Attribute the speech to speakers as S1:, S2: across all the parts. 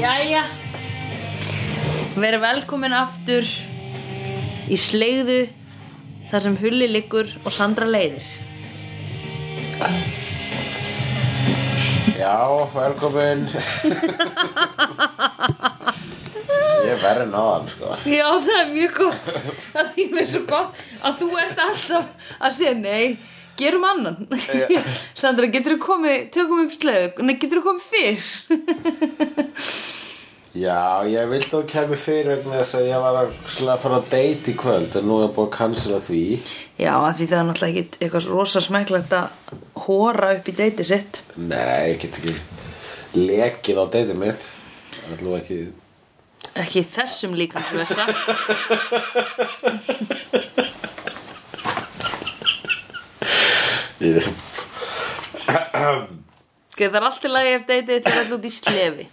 S1: Jæja Verið velkomin aftur í slegðu þar sem Hulli liggur og Sandra leiðir
S2: Já, velkomin Ég er verri náðan, sko
S1: Já, það er mjög gott að því mér er svo gott að þú ert alltaf að segja nei gerum annan Sandra, getur þú komið, tökum upp slegðu Nei, getur þú komið fyrr
S2: Já, ég vildi að þú kemur fyrir vegna þess að ég var að slega að fara að date í kvöld en nú er búið að cancela því
S1: Já, að því það er náttúrulega ekki eitthvað rosa smekklegt að hóra upp í deiti sitt
S2: Nei, ég get ekki lekið á dateið mitt Allú ekki
S1: Ekki í þessum líkansvesa
S2: Ég-
S1: Skeið, Sko, Það er allt í lagi ef deytið þetta er öll út í slefi.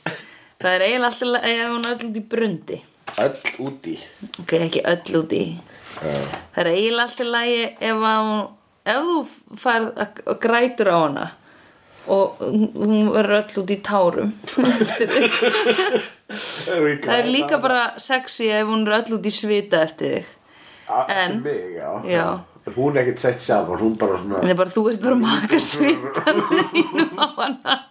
S1: Það er eiginlega allt í lagi ef hún er öll út í brundi.
S2: Öll úti
S1: Ok, ekki öll út í. Það er eiginlega allt í lagi ef, að hún, ef þú færð að- og grætur á hana og hún hún verður öll út í tárum. Eftir- það er líka bara sexy ef hún er öll út í svita eftir þig. en-
S2: En mig, já.
S1: Já.
S2: En Hún er ekkert sett sjálf hún bara svona
S1: En það er bara, þú ert bara að maka svitan þínum á hana.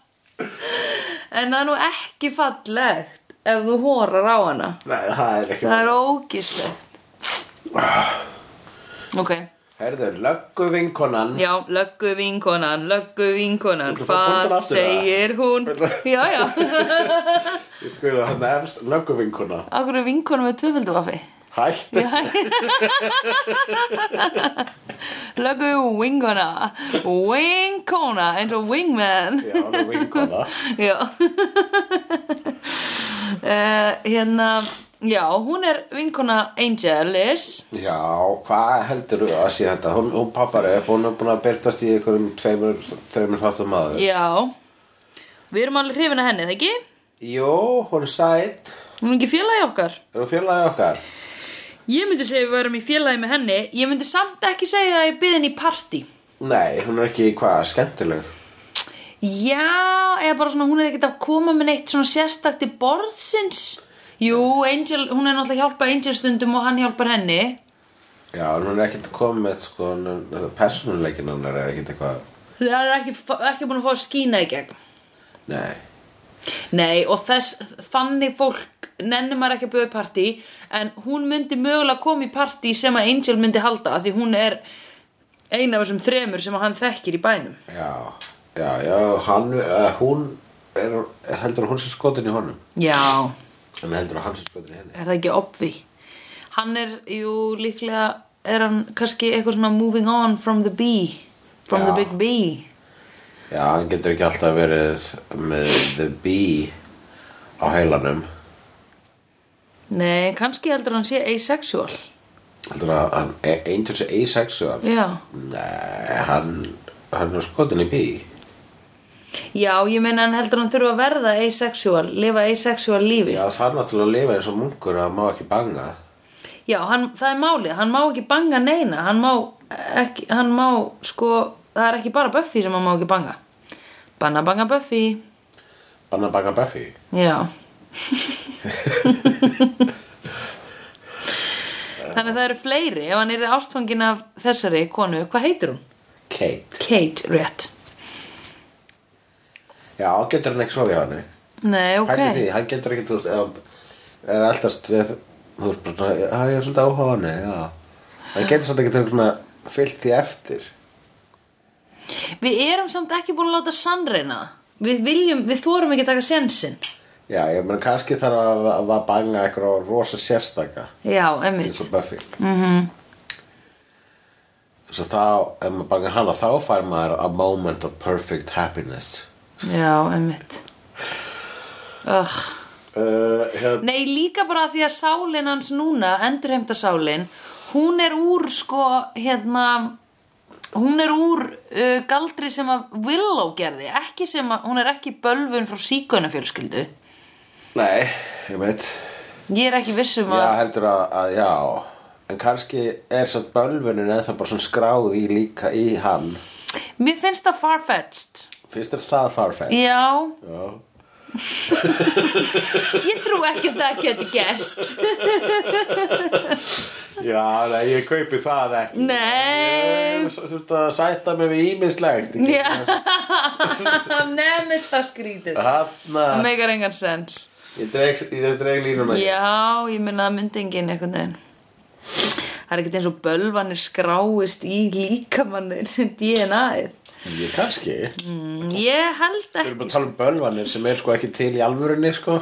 S1: En það er nú ekki fallegt ef þú hórar á hana.
S2: Nei, það er ekki
S1: Það er ógislegt.
S2: Ah.
S1: Ok.
S2: Herðu, löggu vinkonan
S1: Já, löggu vinkonan, löggu vinkonan,
S2: Viltu fá
S1: hvað
S2: punktin aftur,
S1: segir hún? Já, já.
S2: Ég skoði hann efst löggu vinkona
S1: Akkur er vinkonum með tvöföldu vaffi?
S2: Hætt
S1: Löggu vinkona, vinkona, eins og wingman.
S2: Já, það er vinkona
S1: Já uh, Hérna Já, hún er vinkona Angelis
S2: Já, hvað heldur þú að sé þetta? Hún, hún pappar upp, hún er búin að byrtast í einhverjum tveimur, þreimur þáttum maður
S1: Já Við erum alveg hrifin að henni, það ekki?
S2: Jó, hún er sætt
S1: Hún er ekki félagi okkar
S2: Er hún félagi okkar?
S1: Ég myndi segja við værum í félagi með henni Ég myndi samt ekki segja að ég byrði henni í partí
S2: Nei, hún er ekki hvað, skemmtileg
S1: Já, eða bara svona hún er ekkert að koma með neitt svona sérstakt í borðsins Jú, Angel, hún er náttúrulega að hjálpa Angel stundum og hann hjálpar henni
S2: Já, en hún er ekkert komið með sko, persónuleikin hann er ekkert eitthvað
S1: Það er ekki, ekki búin að fá að skína í gegn
S2: Nei
S1: Nei og þess þannig fólk nennir maður ekki að bjóða í partí en hún myndi mögulega koma í partí sem að Angel myndi halda af því hún er eina af þessum þremur sem að hann þekkir í bænum
S2: Já, já, já, hann, uh, hún er, heldur að hún sé skotin í honum
S1: Já,
S2: En heldur að hann sé skotin í henni
S1: er það ekki obvi Hann er, jú, líklega er hann kannski eitthvað svona moving on from the bee from the
S2: Já.
S1: big bee
S2: Já, hann getur ekki alltaf verið með The Bee á heilanum
S1: Nei, kannski heldur hann sé asexual
S2: Heldur að hann er Angel sé asexual
S1: Já
S2: Nei, hann, hann er skotin í Bee
S1: Já, ég meina hann heldur hann þurfa að verða asexual lifa asexual lífi
S2: Já, það er náttúrulega að lifa eins og munkur að hann má ekki banga
S1: Já, hann, það er málið, hann má ekki banga neina, hann má, ekki, hann má sko, það er ekki bara Buffy sem hann má ekki banga. Banna banga Buffy,
S2: Banna að banga Buffy
S1: já. Þannig að það eru fleiri, ef hann er ástfangin af þessari konu, hvað heitir hún?
S2: Kate
S1: Kate, rétt.
S2: Já, getur hann ekki svo við hann
S1: Nei, ok.
S2: Pæli því, hann getur ekki, þú veist, ef hann er alltast við Þú veist bara, svona, já, ég er svolítið áhuga á hann, já Hann getur svolítið ekki svona fyllt því eftir
S1: Við erum samt ekki búin að láta sannreina það. Við viljum, við þórum ekki að taka sensin.
S2: Já, ég meina kannski þarf að, að, að banga eitthvað rosa sérstaka
S1: Já, emmitt.
S2: eins og Buffy mm
S1: Mm-hmm.
S2: -hmm. Svo þá, ef maður bangar hana þá fær maður a moment of perfect happiness
S1: Já, emmitt. Oh.
S2: uh, hérna,
S1: Nei, líka bara því að sálin hans núna, endurheimtasálin, hún er úr sko, hérna, hún er úr uh, galdri sem að Willow gerði, ekki sem að, hún er ekki bölvun frá síkönafjölskyldu.
S2: Nei, ég veit
S1: Ég er ekki viss um að,
S2: Já, heldur að, að já En kannski er satt bölvunin eða það bara svona skráð í líka í hann
S1: mér finnst það farfetched.
S2: Fyrst er það farfætt
S1: Já,
S2: Já,
S1: Ég trú ekki að það geti gerst
S2: Já, nei, ég kaupi það ekki
S1: Nei.
S2: Ég Þurfti að sætta mig við ímislegt ekki?
S1: Já Nefnist það skrítið Það
S2: Þarna
S1: meikar engan sens
S2: Ég dreg, ég dreg línum ekki
S1: Já, ég minna það myndi enginn einhvern veginn Það er ekkert eins og bölvanir skráist í líkamannir DNA-ið
S2: Ég kannski Við
S1: Mm, Ég held ekki
S2: erum bara að tala um bölvanir sem er sko ekki til í alvörunni sko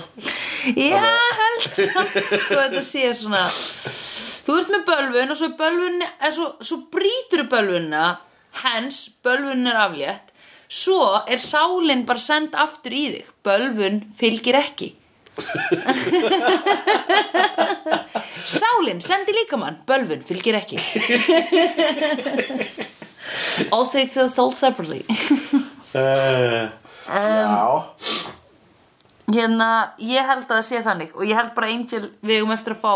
S1: Já, held samt sko þetta sé svona Þú ert með bölvun og svo er bölvun eða svo, svo brýtur bölvunna hens, bölvun er aflétt svo er sálin bara send aftur í þig bölvun fylgir ekki Sálin sendi líkamann bölvun fylgir ekki All states are sold separately Eh,
S2: uh,
S1: um,
S2: Já
S1: Hérna, ég held að það sé þannig og ég held bara Angel við um eftir að fá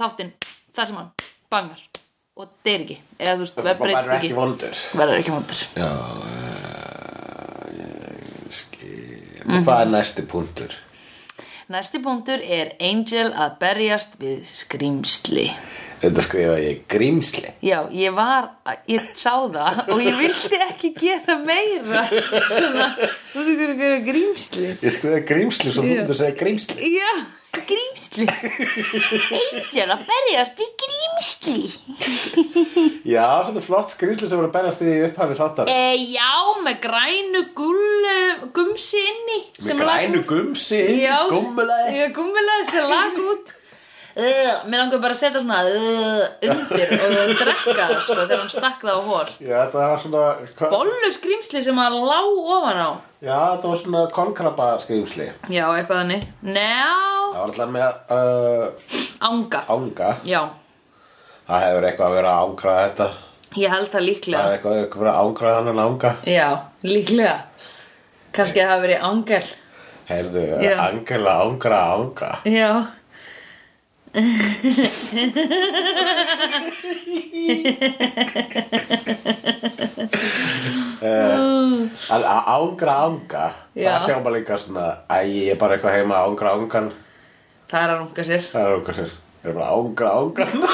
S1: þáttinn þar sem hann bangar og deyr ekki eða þú veist,
S2: Það
S1: breytist
S2: er
S1: ekki
S2: ekki vondur
S1: verður ekki vondur
S2: Já uh, Ég skil Hvað er næsti punktur?
S1: Næsti punktur er Angel að berjast við skrýmsli
S2: Þetta skrifa ég grímsli
S1: Já, ég var, ég sá það og ég vildi ekki gera meira svona, þú veist ekki að gera grímsli
S2: Ég skrifa grímsli svo þú
S1: Já.
S2: myndir að segja grímsli
S1: Já, grímsli Angel að berjast við grímsli
S2: Já, svona flott skrýtlu sem voru að bærast í upphafi þáttar
S1: E, já, með grænu gull, eh, gumsi inni sem
S2: Með
S1: lak
S2: grænu
S1: út.
S2: gumsi,
S1: já,
S2: gummulaði
S1: Já, gúmulaði sem lag út Uh, mér langar bara að setja svona uh, undir og drekka það sko þegar hann stakk það á hól
S2: Já, þetta var svona hva-
S1: Bollu skrýmsli sem að lá ofan á
S2: Já, þetta var svona konkrabba skrýmsli
S1: Já, eitthvað þannig Njá,
S2: Það var alltaf með uh,
S1: ánga
S2: ánga
S1: Já,
S2: Það hefur eitthvað að vera að ángra þetta
S1: ég held það líklega
S2: Það hefur eitthvað að vera að ángra þannig ánga
S1: Já, líklega Kannski að hafa verið ángel
S2: Heyrðu,
S1: Já.
S2: angela, ángra, ánga
S1: Já
S2: Að að ángra, ánga
S1: Já.
S2: Það hljóma líka svona Æ, ég er bara eitthvað heima að ángra, ángan
S1: Það er að runga sér
S2: Það er okkar sér Ég er bara að ángra, ángan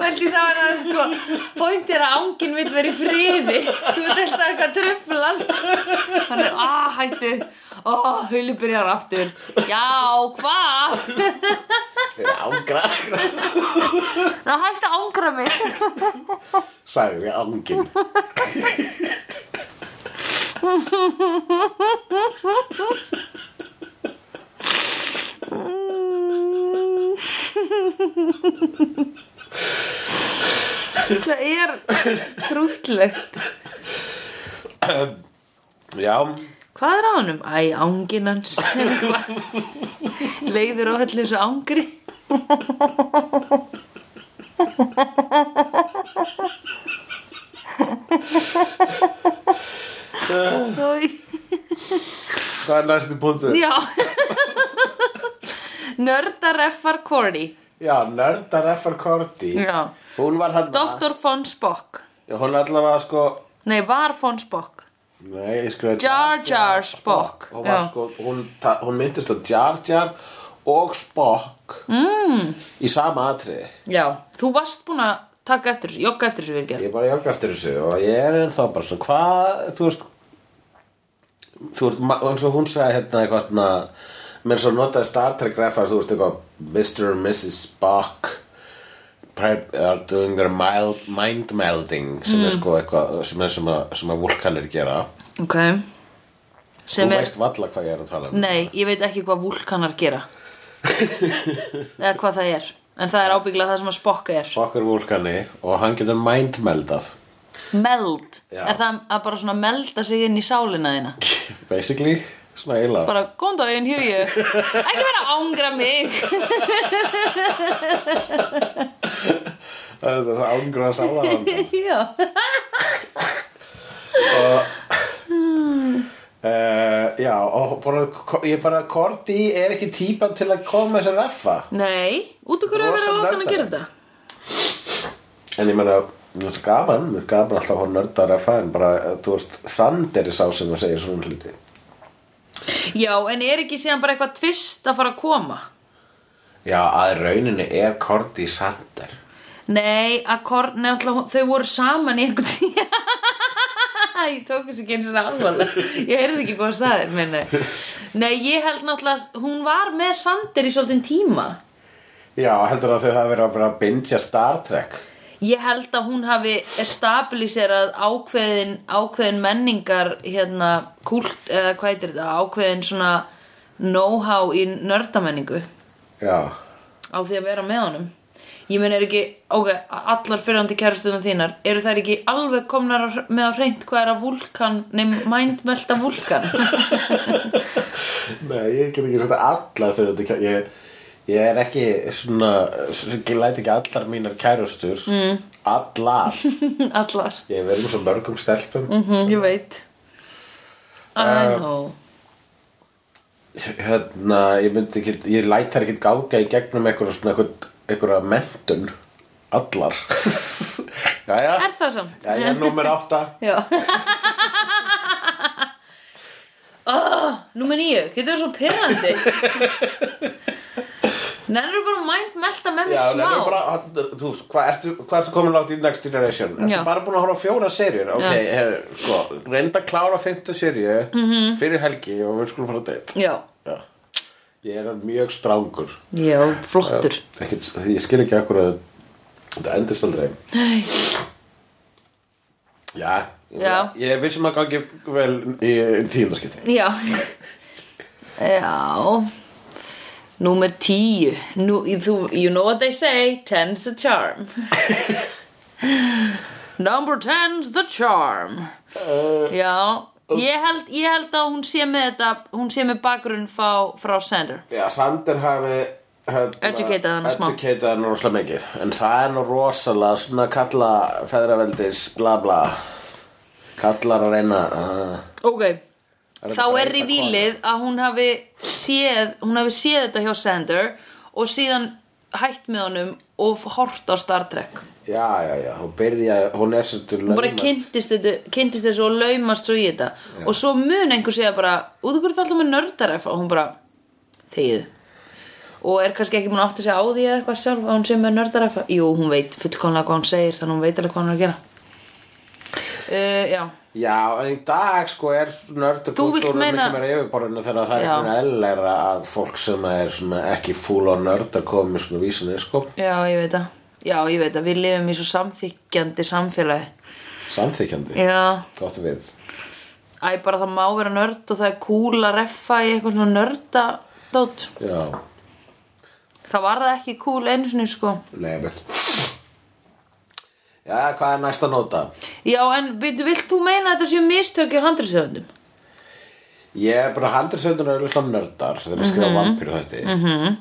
S1: Fældi það var að sko Point er að ángin vill vera í friði Þú veist alltaf eitthvað tröflan Hann er, ah, hættu Ó, oh, hulu byrjar aftur Já, hvað?
S2: Ég er ángra, ángra
S1: Ná, hættu að ángra mig
S2: Sagði ég ángin
S1: Það er trútlegt
S2: Já,
S1: Hvað er á honum? Æ, ángin hans Leiður á öllu þessu ángri Þói
S2: Hvað er næstu punktur?
S1: Já Nördareffar Cordy
S2: Já, nördar F.R. Cordy
S1: Já.
S2: Hún var hann
S1: Dr. von Spock
S2: Hún allavega sko
S1: Nei, var von Spock
S2: Nei, ég skrifaði
S1: Jar Jar Spock
S2: Hún, var,
S1: Já.
S2: sko, hún, ta- hún myndist á Jar Jar og Spock mm. Í sama atriði
S1: Já, þú varst búin að taka eftir þessu, jogga eftir þessu virkja
S2: Ég er bara jálka eftir þessu og ég er ennþá bara svona Hvað, þú veist Þú veist, ma- eins og hún sagði hérna eitthvað svona Mér svo notaði Star Trek refar, þú veist eitthvað Mr. and Mrs. Spock pre- are doing their mild, mind melding sem
S1: Mm.
S2: er sko eitthvað sem, er sem, að, sem að vulkanir gera
S1: Ok Sem er,
S2: Þú veist valla hvað ég er að tala um
S1: nei, ég veit ekki hvað vulkanar gera Eða hvað það er En það er ábygglega það sem að Spock er
S2: Spock er vulkani og hann getur mind meldað
S1: Meld,
S2: Já.
S1: er það að bara svona melda sig inn í sálina þína
S2: basically, svona eiginlega
S1: Bara, góðan daginn, hér er ég Ekki vera að ángra mig
S2: það er það ángra að sáða hann
S1: Já
S2: Uh, já, og bara, ég bara, Korti er ekki típan til að koma þessi reffa
S1: Nei, út okkur að
S2: Rosa
S1: vera að láta hann að
S2: nördarlegt.
S1: gera þetta
S2: En ég meina, Mér finnst gaman, mér er gaman alltaf hún nördar að fæn bara, eh, þú veist, sand er í sá sem að segja svona hluti
S1: Já, en er ekki síðan bara eitthvað tvist að fara að koma?
S2: Já, að rauninni er Korti Sander
S1: Nei, að Korn, nefnilega, þau voru saman í einhvern tíð Ég tók þessi ekki eins og alvarlega Ég heyrði ekki hvað það er, menna eh. Nei, ég held náttúrulega, að hún var með Sander í svolítinn tíma
S2: Já, heldur að þau hafa verið að vera að bingja Star Trek
S1: Ég held að hún hafi stabiliserað ákveðin, ákveðin menningar hérna kult eða hvað heitir þetta, ákveðin svona know-how í nördamenningu
S2: Já,
S1: á því að vera með honum. Ég meina er ekki, ok, allar fyrrandi kærastuðum þínar, eru þær ekki alveg komnar á- með að hreint hvað er að vulkan, nefn mændmelta vulkan?
S2: nei, ég get ekki svona allar fyrir þetta ég, ég er ekki svona, ég læt ekki allar mínar kærustur mm. Allar
S1: allar,
S2: Ég hef verið með svo mörgum stelpum
S1: Mhm, ég veit.
S2: Eh,
S1: I know.
S2: Hérna, ég myndi ekki, ég læt þær ekki ganga í gegnum einhverja svona einhverja, einhverja mentun Allar Jæja
S1: Er það samt?
S2: Já, ég er númer átta
S1: Já oh, Númer níu, getur það svo pyrrandi Nennir bara að mindmelta með mér
S2: Já,
S1: smá
S2: nefnir bara, þú veist, hvað ertu, hvað ertu komin látt í Next Generation? Ertu
S1: Já.
S2: bara búin að horfa á fjóra serjur? Ok,
S1: Já.
S2: her, sko, reynda að klára fymtu serju
S1: Mhm.
S2: -hmm. fyrir helgi og við skulum fara að deitt.
S1: Já,
S2: Já. Ég er mjög strángur.
S1: já, flottur
S2: Ekki, ég skil ekki akkur að þetta endist aldrei.
S1: Æ,
S2: Já,
S1: Já.
S2: ég er vissum að gangi vel í tíðunarskipti.
S1: Já Já Númer tíu Nú, þú, You know what they say Ten's a charm Number ten's the charm Já, ég held, ég held að hún sé með þetta, hún sé með bakgrunn frá, frá Sander.
S2: Já, Sander hafi hérna,
S1: Educatað hana smá.
S2: Educatað hana rosalega mikið En það er nú rosalega svona kalla feðraveldis bla bla Kallar að reyna uh,
S1: Ok,
S2: að
S1: þá er
S2: breyta
S1: revílið að hún hafi séð, hún hafi séð þetta hjá Sander og síðan hætt með honum og hort á Star Trek.
S2: konum. Já, já, já, hún byrja, hún er sem til
S1: Hún bara
S2: laumast.
S1: kynntist, þetta, kynntist þessu og laumast svo í þetta. Og svo mun einhver segja bara, út af hverju það alltaf með nördaref og hún bara, þegið. Og er kannski ekki múin að átta sig á því eða eitthvað sjálf að hún sé með nördaref. Jú, hún veit fullkomlega hvað hún segir þannig hún veit alveg hvað hún er að gera. Uh, já,
S2: Já, en í dag sko er nörd
S1: Þú vilt meina-
S2: mikið meira yfirborðinu þegar það er
S1: Já.
S2: einhvern eðlera að fólk sem er svona ekki fúl á nörd að koma með svona vísanir sko
S1: já, ég veit það. Já, ég veit það. Við lifum í svo samþykjandi samfélagi.
S2: samþykjandi
S1: Já,
S2: Gott við
S1: æ, bara það má vera nörd og það er cool að reffa í eitthvað svona nördadót.
S2: Já,
S1: Það var það ekki cool einu sinni, sko.
S2: Nei, veit Já, hvað er næsta nota?
S1: Já, en veitu, vilt þú meina að þetta séu mistökja handriðsöfundum?
S2: Ég er bara handriðsöndur og auðvitað nördar þegar ég skrifa mm vampíru þetta -hmm.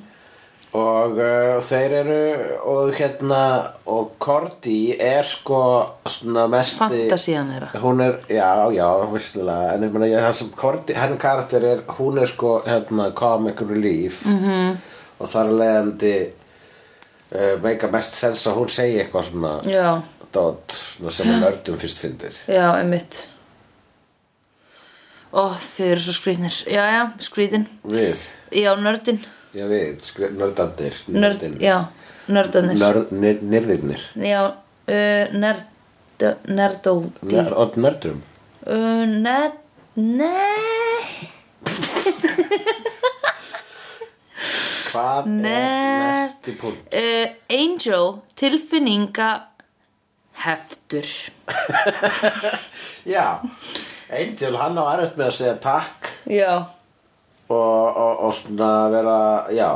S2: og uh, þeir eru og hérna og Korti er sko svona mesti
S1: Fantasían þeirra.
S2: Hún er, já, já, visslega en ég meina, ég, hann sem Korti, henni karakter er hún er sko, hérna, comic relief -hmm. og þar er leiðandi uh, meika mest sens að hún segi eitthvað svona
S1: Já,
S2: dot svona sem er nördum fyrst fyndið
S1: já, einmitt. Ó, þið eru svo skrýtnir. Já, já, skrýtin.
S2: Við,
S1: Já, nördin.
S2: já við, skri- nördandir
S1: Nörd, já, nördanir.
S2: Nörd, nir- nirðirnir
S1: Já, uh, nerd, nerdó,
S2: Nör- Og nördum
S1: uh, nerd, nei,
S2: Hvað er
S1: Nerd.
S2: næsti punkt?
S1: uh, angel, tilfinninga, heftur.
S2: Já, Angel, hann á erut með að segja takk
S1: Já.
S2: og, og, og svona vera, já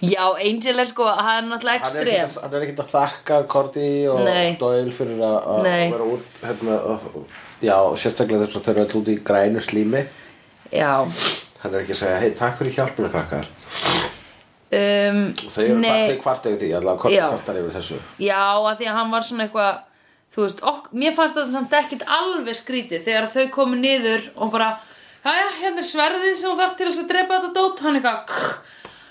S1: Já, angel er sko, hann er náttúrulega
S2: Hann er ekkert
S1: ekstrem.
S2: að- hann er ekkert að þakka Korti og
S1: Nei.
S2: Doyle fyrir að að
S1: Nei.
S2: vera út hérna, og- Já, sérstaklega þess að þau eru alltaf út í grænu slími
S1: Já.
S2: Hann er ekki að segja, hei, takk fyrir hjálpina krakkar
S1: Um,
S2: Þau eru
S1: nei.
S2: kvart, kvart yfir því, allavega Korti
S1: Já.
S2: kvartar yfir þessu
S1: Já, að því að hann var svona eitthvað Þú veist, ok, mér fannst þetta samt ekkit alveg skrítið Þegar þau komu niður og bara Jæja, hérna er sverðið sem þú þarf til þess að drepa þetta dót Hann eitthvað "Kr,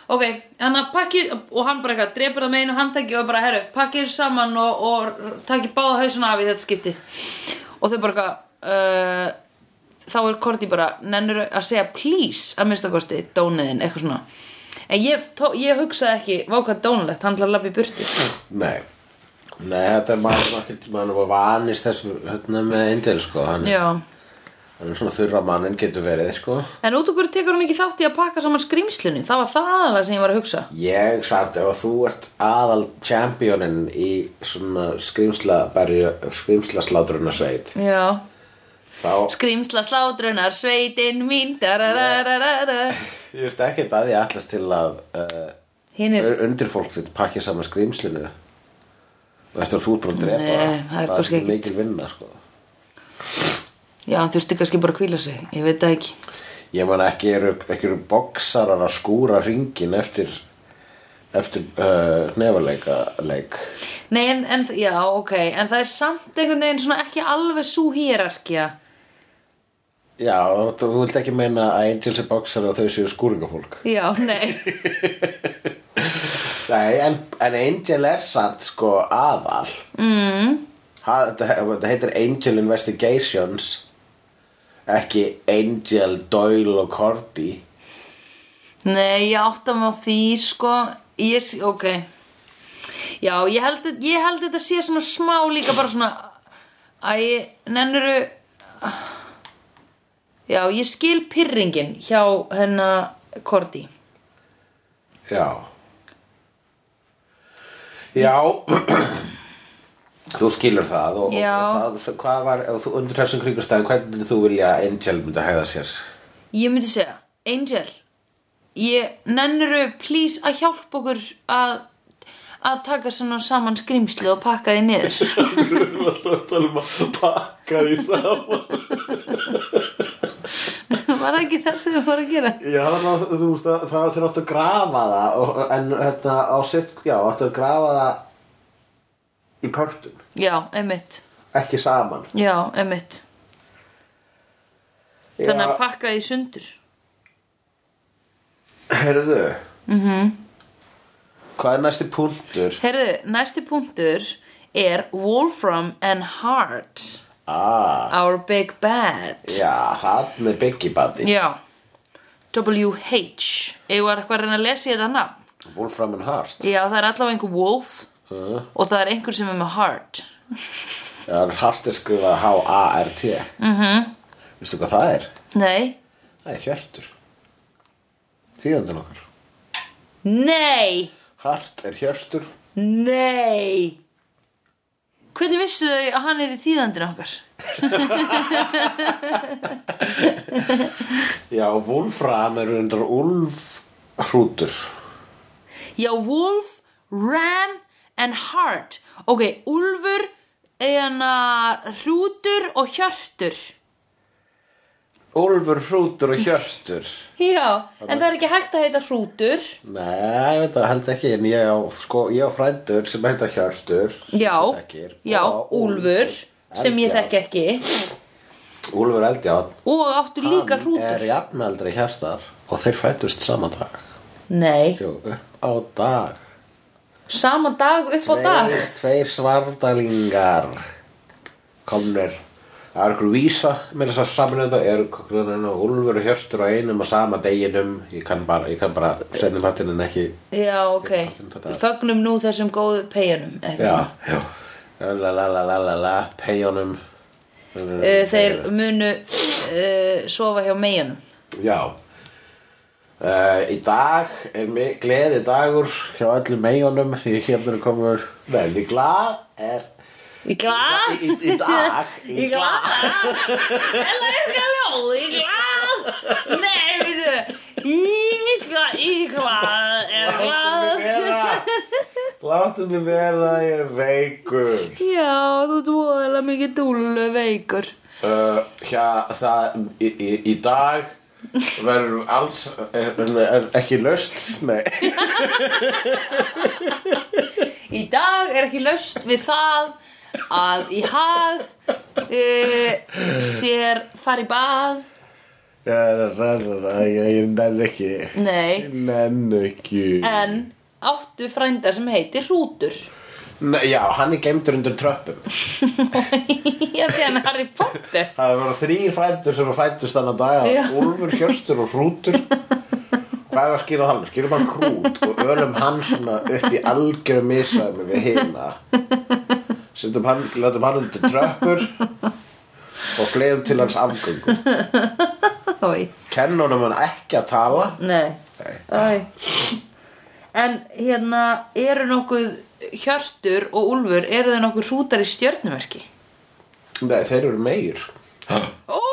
S1: ok, hann að pakki og hann bara eitthvað, drepur það með einu handtæki og bara, herru, pakki þessu saman og, og takki báða hausuna af í þetta skipti og þau bara eitthvað uh, þá er Korti bara nennur að segja please að minnsta kosti dóniðin, eitthvað svona en ég, tó, ég hugsaði ekki, vákað dónilegt hann til að labba í burtu
S2: Nei Nei, þetta er maður nokkið tíma hann var vanist þessu hérna með Indel sko hann,
S1: já
S2: hann er svona þurra manninn getur verið sko
S1: En út okkur tekur hún ekki þátt í að pakka saman skrýmslinu Það var það aðalega sem ég var að hugsa
S2: Ég samt ef að þú ert aðal championinn í svona skrimsla skrimsla slátruna sveit
S1: Já
S2: þá
S1: Skrýmsla slátrunar sveitin mín dararararara.
S2: ég veist ekki að ég ætlast til að uh,
S1: Hinn er
S2: undir fólk þitt pakki saman skrimslinu og eftir að þú er búin að drepa
S1: Nei,
S2: það,
S1: það er
S2: það
S1: kannski
S2: er
S1: ekkit.
S2: mikil vinna sko
S1: Já, hann þurfti kannski bara að hvíla sig Ég veit það ekki
S2: Ég man ekki eru, ekki eru boksarar að skúra ringin eftir eftir uh, nefaleika leik.
S1: Nei, en, en já, ok En það er samt einhvern veginn svona ekki alveg svo hýrarkja
S2: Já, þú vilt ekki meina að Angels er boksarar og þau séu skúringafólk.
S1: Já, nei
S2: Nei, en, en Angel er samt sko aðal. Mm. Ha, þetta, þetta heitir Angel Investigations ekki Angel, Doyle og Cordy.
S1: Nei, ég átta mig á því, sko Ég, s- ok Já, ég held, ég held þetta sé svona smá líka bara svona Æ, nennuru Já, ég skil pyrringin hjá hennar Korti
S2: Já Já Þú skilur það og,
S1: Já.
S2: og það, hvað var, ef þú undir þessum kringustæðum hvernig myndir þú vilja að Angel myndi hegða sér
S1: Ég myndi segja, Angel Ég nennuru please að hjálpa okkur að að taka svona saman skrýmsli og pakka því niður
S2: Við erum alltaf að tala um að pakka því saman
S1: Var það ekki það sem þú voru að gera?
S2: Já, það var, þú veist að það var þér áttu að grafa það og, en þetta á sitt, já, áttu að grafa það í pörtum,
S1: Já, einmitt
S2: ekki saman
S1: Já, einmitt Þannig að
S2: Já,
S1: pakka því sundur
S2: Heyrðu mm
S1: Mhm.
S2: -hmm. Hvað er næsti punktur?
S1: Herðu, næsti punktur er Wolfram and Heart
S2: Ah
S1: Our Big Bad
S2: Já, hann er Biggie Buddy
S1: Já WH Ég var eitthvað að reyna að lesa í þetta nafn
S2: Wolfram and Heart
S1: Já, það er allavega einhver Wolf
S2: uh,
S1: og það er einhver sem er með Heart
S2: Já, Heart er skrifað H-A-R-T mm
S1: Mhm.
S2: -hmm. Vistu hvað það er?
S1: Nei
S2: Það er hjörtur Þýðandinn okkar
S1: Nei
S2: Heart er hjörtur
S1: Nei Hvernig vissu þau að hann er í þýðandinu okkar?
S2: Já, Wolfram er undar Ulf hrútur
S1: Já, Wolf, Ram and Heart Ok, Úlfur, eina hrútur og hjörtur
S2: Úlfur hrútur og hjörtur
S1: Já, en það er ekki hægt að heita hrútur
S2: Nei, ég veit það, held ekki En ég á, sko, ég á frændur sem heita hjörtur sem
S1: Já,
S2: þú þekkir,
S1: já,
S2: og
S1: úlfur sem ég
S2: Eldjárn.
S1: þekki ekki
S2: Úlfur Eldjátt
S1: og áttu líka
S2: Hann
S1: hrútur
S2: er jafnaldri hjartar og þeir fættust sama dag
S1: Nei,
S2: Jú, upp á dag
S1: sama dag upp á dag
S2: Tveir, tveir svardalingar komnir Það er ykkur vísa með þess að saminuða er kokkunan og Úlfur og Hjörtur á einum og sama deginum ég kann bara, ég kann bara sendum hattinn en ekki
S1: Já, ok, fögnum nú þessum góðu eh, peyjanum
S2: já, já la la la la la la peyjónum
S1: eh, Þeir munu uh, sofa hjá meginum
S2: Já uh, Í dag er mi- gleði dagur hjá öllum meginum því hérna er komur Nei, í glað er
S1: Í glað
S2: Í, í dag
S1: Í glað En það er ekki að ljóð Í glað Nei, veitu Í glað Í glað Er
S2: Láttu
S1: glað
S2: mig vera Láttu mig vera ég er veikur
S1: Já, þú dvoðalega mikið dúlu veikur.
S2: uh, Hjá það í, í, í dag verður alls er, er ekki löst Nei
S1: Í dag er ekki laust við það að í hag uh, sér fari e, bað
S2: Ég er að ræða það, ég, ég nenn ekki
S1: Nei,
S2: Nenn ekki
S1: en áttu frænda sem heitir Hrútur
S2: Nei, Já, hann er geimdur undir tröppum
S1: Já, því hann er hérna Harry Potter
S2: Það voru þrý frændur sem frændust þannig að
S1: Já.
S2: daga Úlfur, Hjörstur og Hrútur Hvað er að skýra þannig? Skýrum hann hrút og ölum hann svona upp í algjöru misæmi við hina Settum hann, látum hann undir tröppur og fleðum til hans afgöngu
S1: Ói,
S2: Kennunum hann ekki að tala
S1: nei
S2: Nei.
S1: Ói En hérna, eru nokkuð Hjörtur og Úlfur, eru þau nokkuð hrútar í stjörnumerki?
S2: Nei, þeir eru meir
S1: Ó,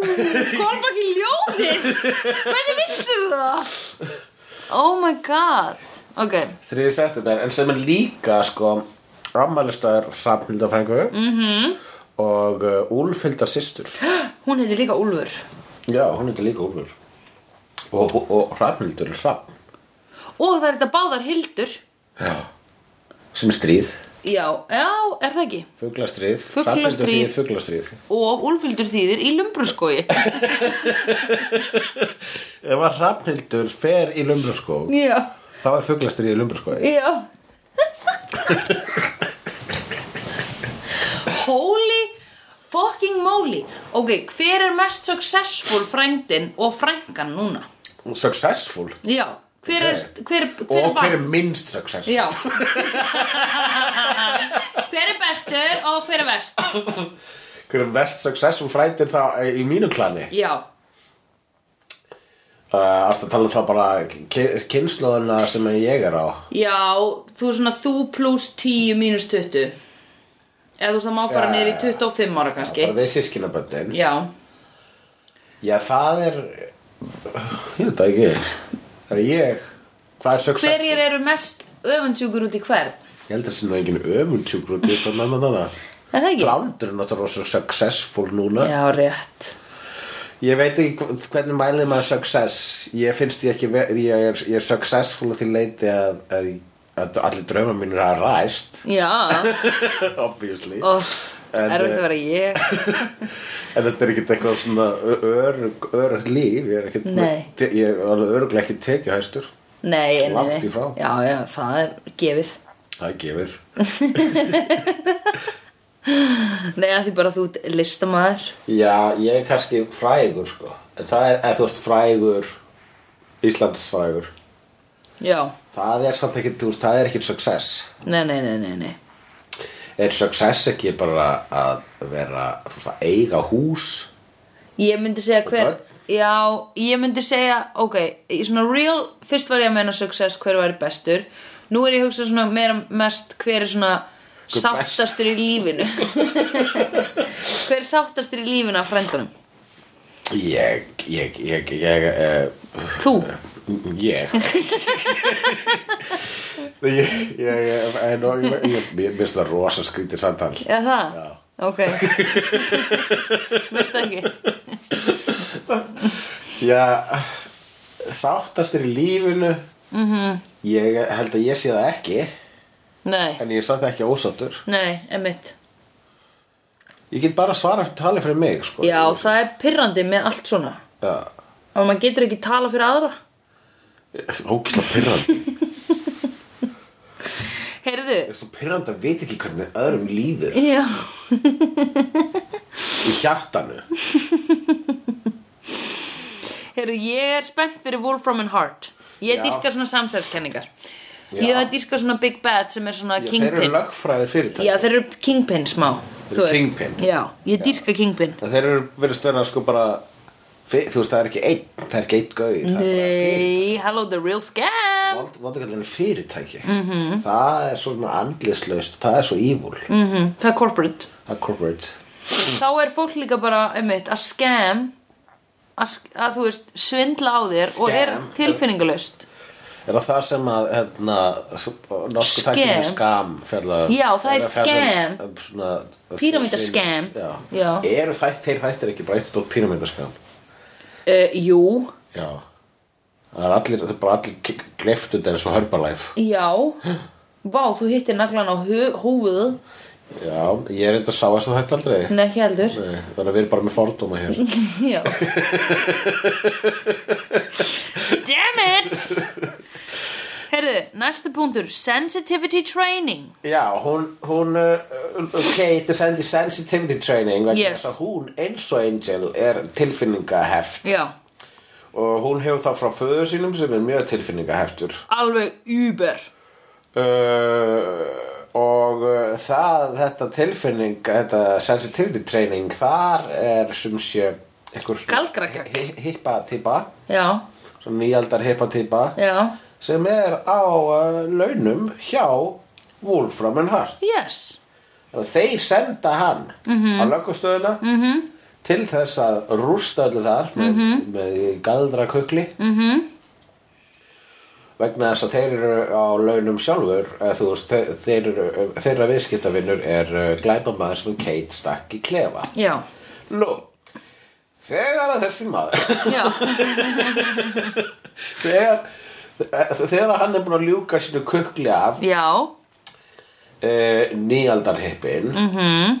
S1: kom ekki ljóðið Hvernig vissir það? Oh my god Ok,
S2: Þriði september, en sem er líka sko Ammælistæður Hrafnhildar frængu mm -hmm. og uh, Úlfhildar systur
S1: hún heitir líka Úlfur
S2: Já, hún heitir líka Úlfur og, og, og Hrafnhildur er Hrafn
S1: Og það er þetta báðar hildur
S2: Já Sem er stríð,
S1: Já, já, er það ekki?
S2: fuglastríð
S1: Fuglastríð.
S2: Hrafnhildur þýðir fuglastríð
S1: Og Úlfildur þýðir í Lumbruskogi
S2: Ef að Hrafnhildur fer í Lumbraskó
S1: Já,
S2: þá er fuglastríð í Lumbraskó
S1: já Holy fucking moly Ok, hver er mest successful frændin og frængan núna?
S2: Successful
S1: Já, hver er, hver, hver
S2: Og hver
S1: vann?
S2: er minnst successful
S1: Já Hver er bestur og hver er vest
S2: Hver er mest successful frændin þá eh, í mínu klani
S1: Já,
S2: uh, Ertu að tala um það bara kynnslóðuna sem ég er á
S1: já, þú er svona þú pluss 10 mínus 20 Eða þú veist það má fara
S2: Já,
S1: niður í
S2: já, já.
S1: 25 ára kannski
S2: bara við sískinaböndin
S1: Já,
S2: já það er ég veit það ekki það er ég hvað er successful
S1: hverjir eru mest öfundsjúkur út í hvern?
S2: ég held að það sé nú engin öfundsjúkur út í þetta með með þarna
S1: Er það ekki?
S2: Blándur er náttúrulega svo successful núna
S1: Já, rétt
S2: Ég veit ekki hv- hvernig mælið maður success Ég finnst ég ekki ve- Ég er, ég er successful að því leiti að, að, að allir drauma mínir hafa ræst
S1: Já,
S2: Obviously
S1: og
S2: En,
S1: erfitt
S2: eh,
S1: að vera ég
S2: En þetta er ekkert eitthvað svona ö- örugg, örugg líf Ég er ekkert
S1: Nei.
S2: te- Ég er alveg örugglega ekki tekið hæstur
S1: Nei, nei,
S2: Langt
S1: nei
S2: í frá.
S1: Já, já, það er gefið
S2: Það er gefið
S1: Nei, að því bara þú ert listamaður
S2: Já, ég er kannski frægur sko En það er, eða þú veist, frægur Íslandsfrægur
S1: Já,
S2: Það er samt ekki, þú veist, það er ekki success
S1: nei, nei, nei, nei, nei
S2: Er success ekki bara að vera, þú veist, að eiga hús
S1: Ég myndi segja hver
S2: börn?
S1: Já, ég myndi segja, ok í Svona real, fyrst var ég að meina success hver væri bestur Nú er ég að hugsa svona meira mest hver er svona
S2: Hver
S1: sáttastur í lífinu Hver er sáttastur í lífinu af frændunum?
S2: Ég, ég, ég, ég uh,
S1: Þú?
S2: Ég Ég, ég, ég, en og ég, ég, ég minnst það rosa skrítið samtal
S1: Eða það?
S2: Já.
S1: Ok Veist ekki?
S2: Já, sáttastur í lífinu mm -hmm. Ég held að ég sé það ekki
S1: Nei,
S2: En ég er samt ekki ósáttur
S1: nei, emitt
S2: Ég get bara svara talið fyrir mig sko.
S1: Já, það er pirrandi með allt svona
S2: Já,
S1: Og maður getur ekki tala fyrir aðra
S2: Ógislega pirrandi
S1: Heyrðu
S2: Það er svo pirrandi að vita ekki hvernig öðrum líður
S1: Já
S2: Í hjartanu
S1: Heyrðu, ég er spennt fyrir Wolfram and Hart Ég
S2: Já.
S1: dýrka svona samsælskenningar
S2: Já.
S1: Ég dýrka svona Big Bad sem er svona
S2: Já, Þeir eru
S1: Kingpin
S2: lögfræði fyrirtæk
S1: Já, þeir eru Kingpin smá
S2: Þeir
S1: þú
S2: eru
S1: veist.
S2: Kingpin.
S1: Já, ég dýrka Kingpin
S2: En Þeir eru verðist vera sko bara fi- Þú veist það er ekki einn Það er ekki einn gauð
S1: Nei, hello the real scam
S2: Vondakallin er fyrirtæki -hmm. Það er svona andlislaust Það er svo evil
S1: Mhm. mm Það er corporate
S2: Það er corporate Mm.
S1: Þá er fólk líka bara, einmitt, að scam að, sk- að þú veist, svindla á þér og er
S2: Scam.
S1: tilfinningalaust
S2: Er það það sem að hérna, Norsku
S1: Scam.
S2: tækjum er skam fjalla,
S1: Já, það er
S2: fjalla um-
S1: scam.
S2: um svona-
S1: Píramídaskam.
S2: Já.
S1: Já.
S2: Eru þætt, þeir þættir ekki bara eitt og píramídaskam
S1: uh, Jú,
S2: Já Það er allir, það er bara allir gleyftu þetta eins og Herbalife
S1: já Vá, þú hittir naglan á hö- hófuð
S2: Já, ég er enda að sá þess að þetta aldrei
S1: Nei, ekki heldur
S2: Nei, Þannig að við erum bara með fordóma hér
S1: Já Damn it Herðu, næsta punktur Sensitivity training
S2: Já, hún, hún uh, Kate er sendið sensitivity training vegna
S1: Yes.
S2: þess að hún eins og Angel er tilfinningaheft
S1: Já,
S2: og hún hefur það frá föður sínum sem er mjög tilfinningaheftur
S1: alveg uber
S2: uh, og uh, það, þetta tilfinning þetta sensitivity training þar er sem sé einhver svona
S1: Galdrakakk.
S2: hi- hi- hippatýpa
S1: Já,
S2: svona nýjaldar hippatýpa
S1: já
S2: sem er á uh, launum hjá Wolfram and Hart
S1: Yes,
S2: og þeir senda hann á lögustöðuna -hmm. til þess að rústa öllu þar með, með galdra kukli -hmm. vegna þess að þeir eru á launum sjálfur eða, þú veist, þeir, þeir eru, þeirra viðskiptavinnur er uh, glæpamaður sem Kate stakk í klefa
S1: já,
S2: Nú, þegar að þessi maður
S1: já,
S2: þegar, þegar að hann er búin að ljúka sínu kukli af
S1: já,
S2: uh, nýaldarhippin -hmm.
S1: Mhm.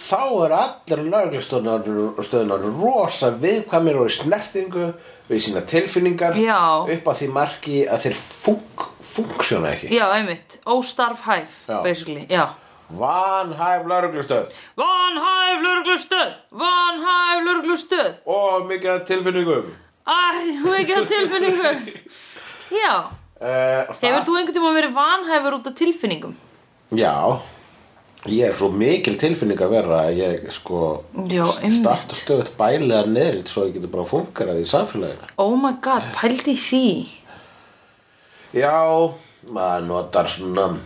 S2: þá er allir lögreglustöðunar rosa viðkvæmir og í snertingu við sína tilfinningar
S1: Já.
S2: upp að því marki að þeir funk, funksjóna ekki
S1: já, einmitt Óstarfhæf,
S2: Já.
S1: basically, já
S2: vanhæf lögreglustöð
S1: Vanhæf lörglustöð, vanhæf lörglustöð
S2: og mikið af tilfinningum
S1: Æ, þú ekki að tilfinningu Já,
S2: uh,
S1: hefur þú einhvern tímann verið vanhæfur út af tilfinningum?
S2: já ég er svo mikil tilfinning að vera að ég sko
S1: Já, einmitt.
S2: starta stöðut bæliðar neðrið svo ég getur bara funkarað í samfélaginu
S1: Oh my god, pældi í því
S2: Já, maður notar svona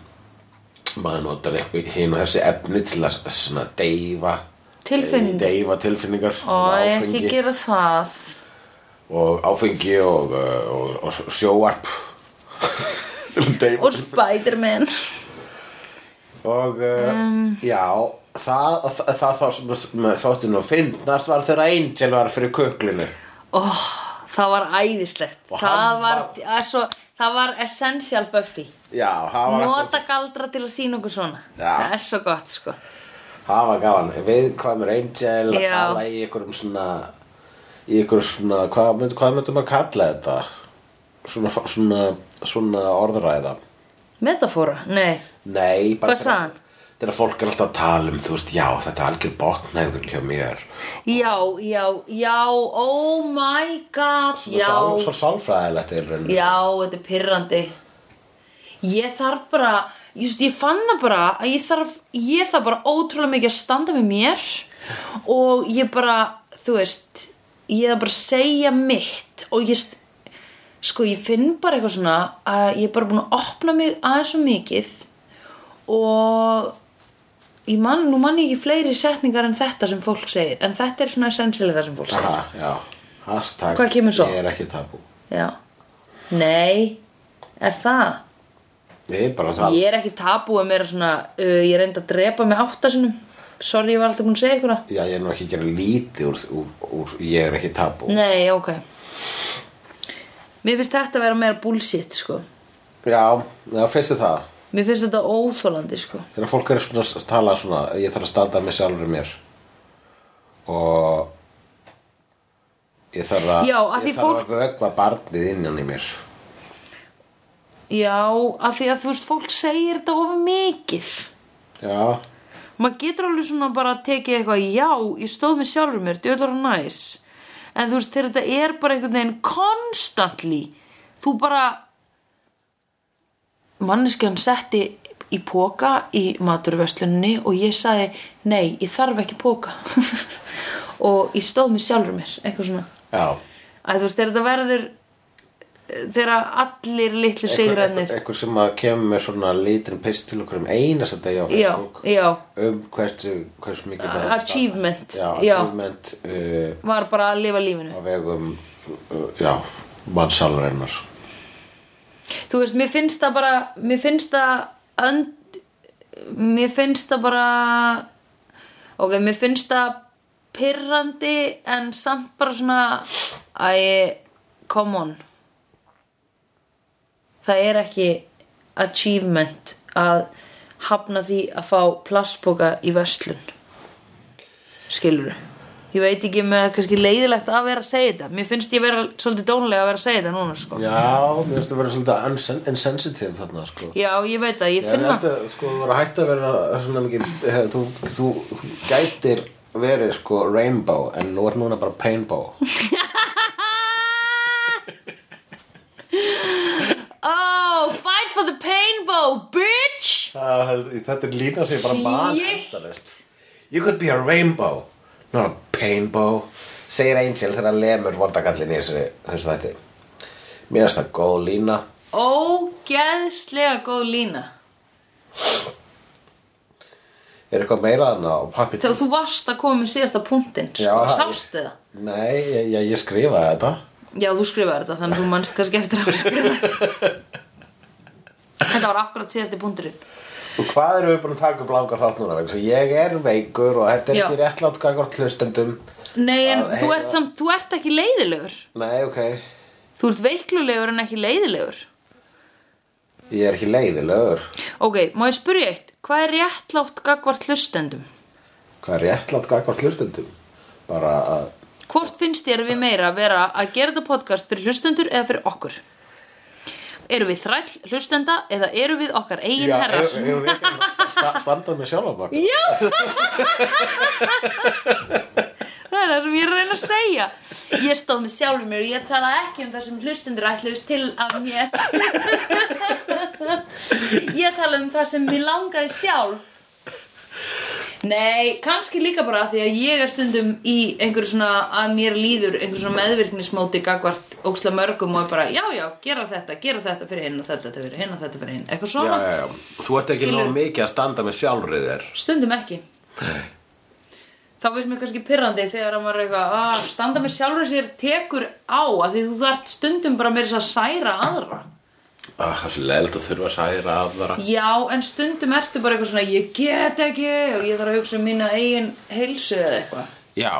S2: maður notar eitthvað hinn og þessi efni til að svona deyfa
S1: Tilfinningar.
S2: deyfa tilfinningar
S1: Ó, ekki gera það
S2: og áfengi og, uh, og, og, sjóarp til að deyfa
S1: Og Spiderman
S2: og uh,
S1: Um.
S2: já það, það, það, það sem- sem þótti nú finnast var þegar Angel var fyrir köklinu
S1: Ó, það var æðislegt
S2: Og
S1: það
S2: hann
S1: var,
S2: var-
S1: var... Svo, það var essential Buffy
S2: já, það var
S1: Nota galdra til að sína okkur svona
S2: Já.
S1: Það er svo gott sko
S2: Það var gaman, viðkvæmur Angel að
S1: Já.
S2: tala í einhverjum svona í einhverjum svona, hvað, mynd, hvað myndum að kalla þetta? Svona, svona, svona orðræða
S1: Metafóra, nei
S2: Nei, bara
S1: Hvað sagði hann?
S2: Þegar fólk er alltaf að tala um, þú veist, já, þetta er algjör botnæður hjá mér
S1: Já, já, já, oh my god
S2: Svona
S1: Já,
S2: sál- Svo sálfræðilegt er rauninu
S1: já, þetta er pirrandi Ég þarf bara Ég, veist, ég fann það bara að ég þarf, ég þarf bara ótrúlega mikið að standa með mér og ég bara, þú veist ég þarf bara að segja mitt og ég st- sko ég finn bara eitthvað svona að ég er bara búin að opna mig aðeins og mikið og ég man, nú man ég ekki fleiri setningar en þetta sem fólk segir en þetta er svona essentially það sem fólk segir
S2: Aha, já, hashtag
S1: Hvað kemur svo?
S2: Ég er ekki tabú
S1: já, nei er það?
S2: Ég er bara að tala
S1: Ég er ekki tabú að mér svona uh, ég reyndi að drepa mig áttasinum sorry ég var alltaf búin að segja ykkur það
S2: Já, ég er nú ekki að gera lítið úr, úr, úr ég er ekki tabú
S1: nei, ok mér finnst þetta að vera meira bullshit sko
S2: Já, já, finnst þið það?
S1: mér finnst þetta óþólandi sko
S2: Þegar fólk er svona að tala svona ég þarf að standa með sjálfur mér og ég þarf að
S1: Já, af því
S2: ég þarf
S1: fólk-
S2: að vögva barnið innan í mér
S1: Já, af því að þú veist, fólk segir þetta of mikið.
S2: Já,
S1: Maður getur alveg svona bara að tekið eitthvað, já, ég stóð með sjálfur mér, djöðlar og næs. En þú veist, þegar þetta er bara einhvern veginn constantly, þú bara, manneskjan setti í póka í maturverslunni og ég sagði, nei, ég þarf ekki póka. og ég stóð með sjálfur mér, eitthvað svona.
S2: já
S1: Æ, þú veist, þegar þetta verður, eh, þegar allir litlu sigrarnir.
S2: Eitthvað sem að kemur með svona lítinn pist til okkur um einasta degi á
S1: Já,
S2: Facebook
S1: já, Uh,
S2: um hversu, hversu mikið maður er að
S1: Achievement,
S2: standa. Já,
S1: já.
S2: achievement uh,
S1: var bara að lifa
S2: á
S1: lífinu
S2: vegum uh, já, mannsálreinar
S1: þú veist, mér finnst það bara mér finnst það önd, mér finnst það bara ok, mér finnst það pirrandi en samt bara svona að come on það er ekki achievement að hafna því að fá plastpoka í verslun skilur ég veit ekki, mér er kannski leiðilegt að vera að segja þetta mér finnst ég vera svolítið dónlega að vera að segja þetta núna sko. já,
S2: Já, mér finnst að vera svolítið unsen- insensitive þarna, sko.
S1: ég veit það, ég
S2: Ég
S1: finna
S2: held að, sko, þú voru hægt að vera svona mikið, eh, þú, þú, þú gætir verið, sko, rainbow, en nú er núna bara painbow.
S1: oh, fight for the pain bow, bitch
S2: Þetta er lína sig bara
S1: Shit.
S2: mann You could be a rainbow, not a painbow, segir Angel þegar hann lemur vondakallin í þessu, þessu þætti. Mér finnst það góð lína.
S1: ógeðslega góð lína
S2: Er eitthvað meira þarna á pappi?
S1: þegar þú varst að koma með síðasta punktinn sko,
S2: Já,
S1: sástu það
S2: Nei, ég, ég, ég skrifaði þetta.
S1: Já, þú skrifaði þetta, þannig að þú manst kannski eftir að hafa skrifað Þetta var akkurat síðasti punkturinn
S2: Og hvað erum við búin að taka upp langar þátt núna? Vegna þess að Ég er veikur og þetta er
S1: Já.
S2: ekki réttlátt gagvart hlustendum.
S1: Nei, en
S2: Að
S1: þú
S2: heyra-
S1: ert samt, þú ert ekki leiðilegur
S2: Nei, ok.
S1: Þú ert veiklulegur en ekki leiðilegur
S2: Ég er ekki leiðilegur.
S1: Ok, má ég spyrja eitt Hvað er réttlátt gagvart hlustendum?
S2: Hvað er réttlátt gagvart hlustendum? Bara að...
S1: Hvort finnst þér við meira að vera að gera þetta podcast fyrir hlustendur eða fyrir okkur? Eru við þræll hlustenda eða eru við okkar eigin herrar?
S2: ef- ef við ekki að sta- sta- standað með sjálf á bak.
S1: Það er það sem ég er að reyna að segja. Ég stóð með sjálfur mér og ég talaði ekki um það sem hlustendur ætluðust til af mér. ég talaði um það sem mér langaði sjálf. Nei, kannski líka bara af því að ég er stundum í einhverju svona að mér líður einhverju svona meðvirknismóti gagvart óksla mörgum og er bara já, já, gera þetta, gera þetta fyrir hinn og þetta fyrir hinn og þetta fyrir hinn. Eitthvað svona?
S2: já, já. Þú ert ekki
S1: Skilur.
S2: nóg mikið að standa með sjálfrið þér.
S1: Stundum ekki Þá veist mér kannski pyrrandi þegar að maður er eitthvað að standa með sjálfur sér tekur á að því þú þarft stundum bara með þess að særa aðra
S2: Ah, það er svo leild að þurfa að særa aðra.
S1: Já, en stundum ertu bara eitthvað svona ég get ekki og ég þarf að hugsa um mína eigin heilsu eða eitthvað
S2: Já,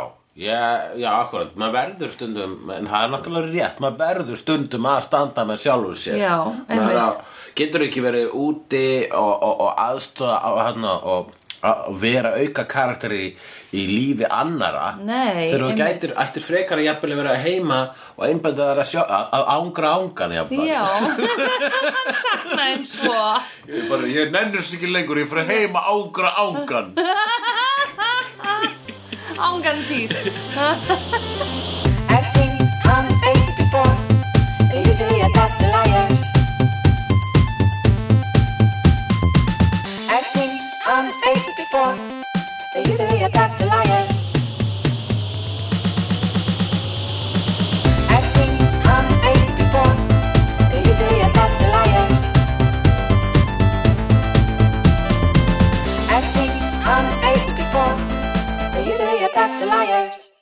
S2: já, já, akkurat, maður verður stundum, en það er náttúrulega rétt, maður verður stundum að standa með sjálfu sér.
S1: Já,
S2: Maður
S1: einmitt.
S2: á- Getur ekki verið úti og, og, og aðstofa á, hérna, og að vera auka karakter í, í lífi annara
S1: Nei,
S2: þegar þú
S1: einmitt.
S2: gætir, ættir frekar að jafnvel að vera heima og einbæta þar að, sjá, að, að ángra ángan jafnvel
S1: Já, hann sakna einn svo
S2: ég, bara, ég nennir sér ekki lengur, ég fyrir heima að ángra ángan
S1: ángan týr
S3: I've seen honest faces before. They're usually a pass to liars. I've seen honest faces before. They're usually a pass to liars. I've seen honest faces before. They're usually a pass to liars. I've seen honest faces before. They're usually a pass to liars.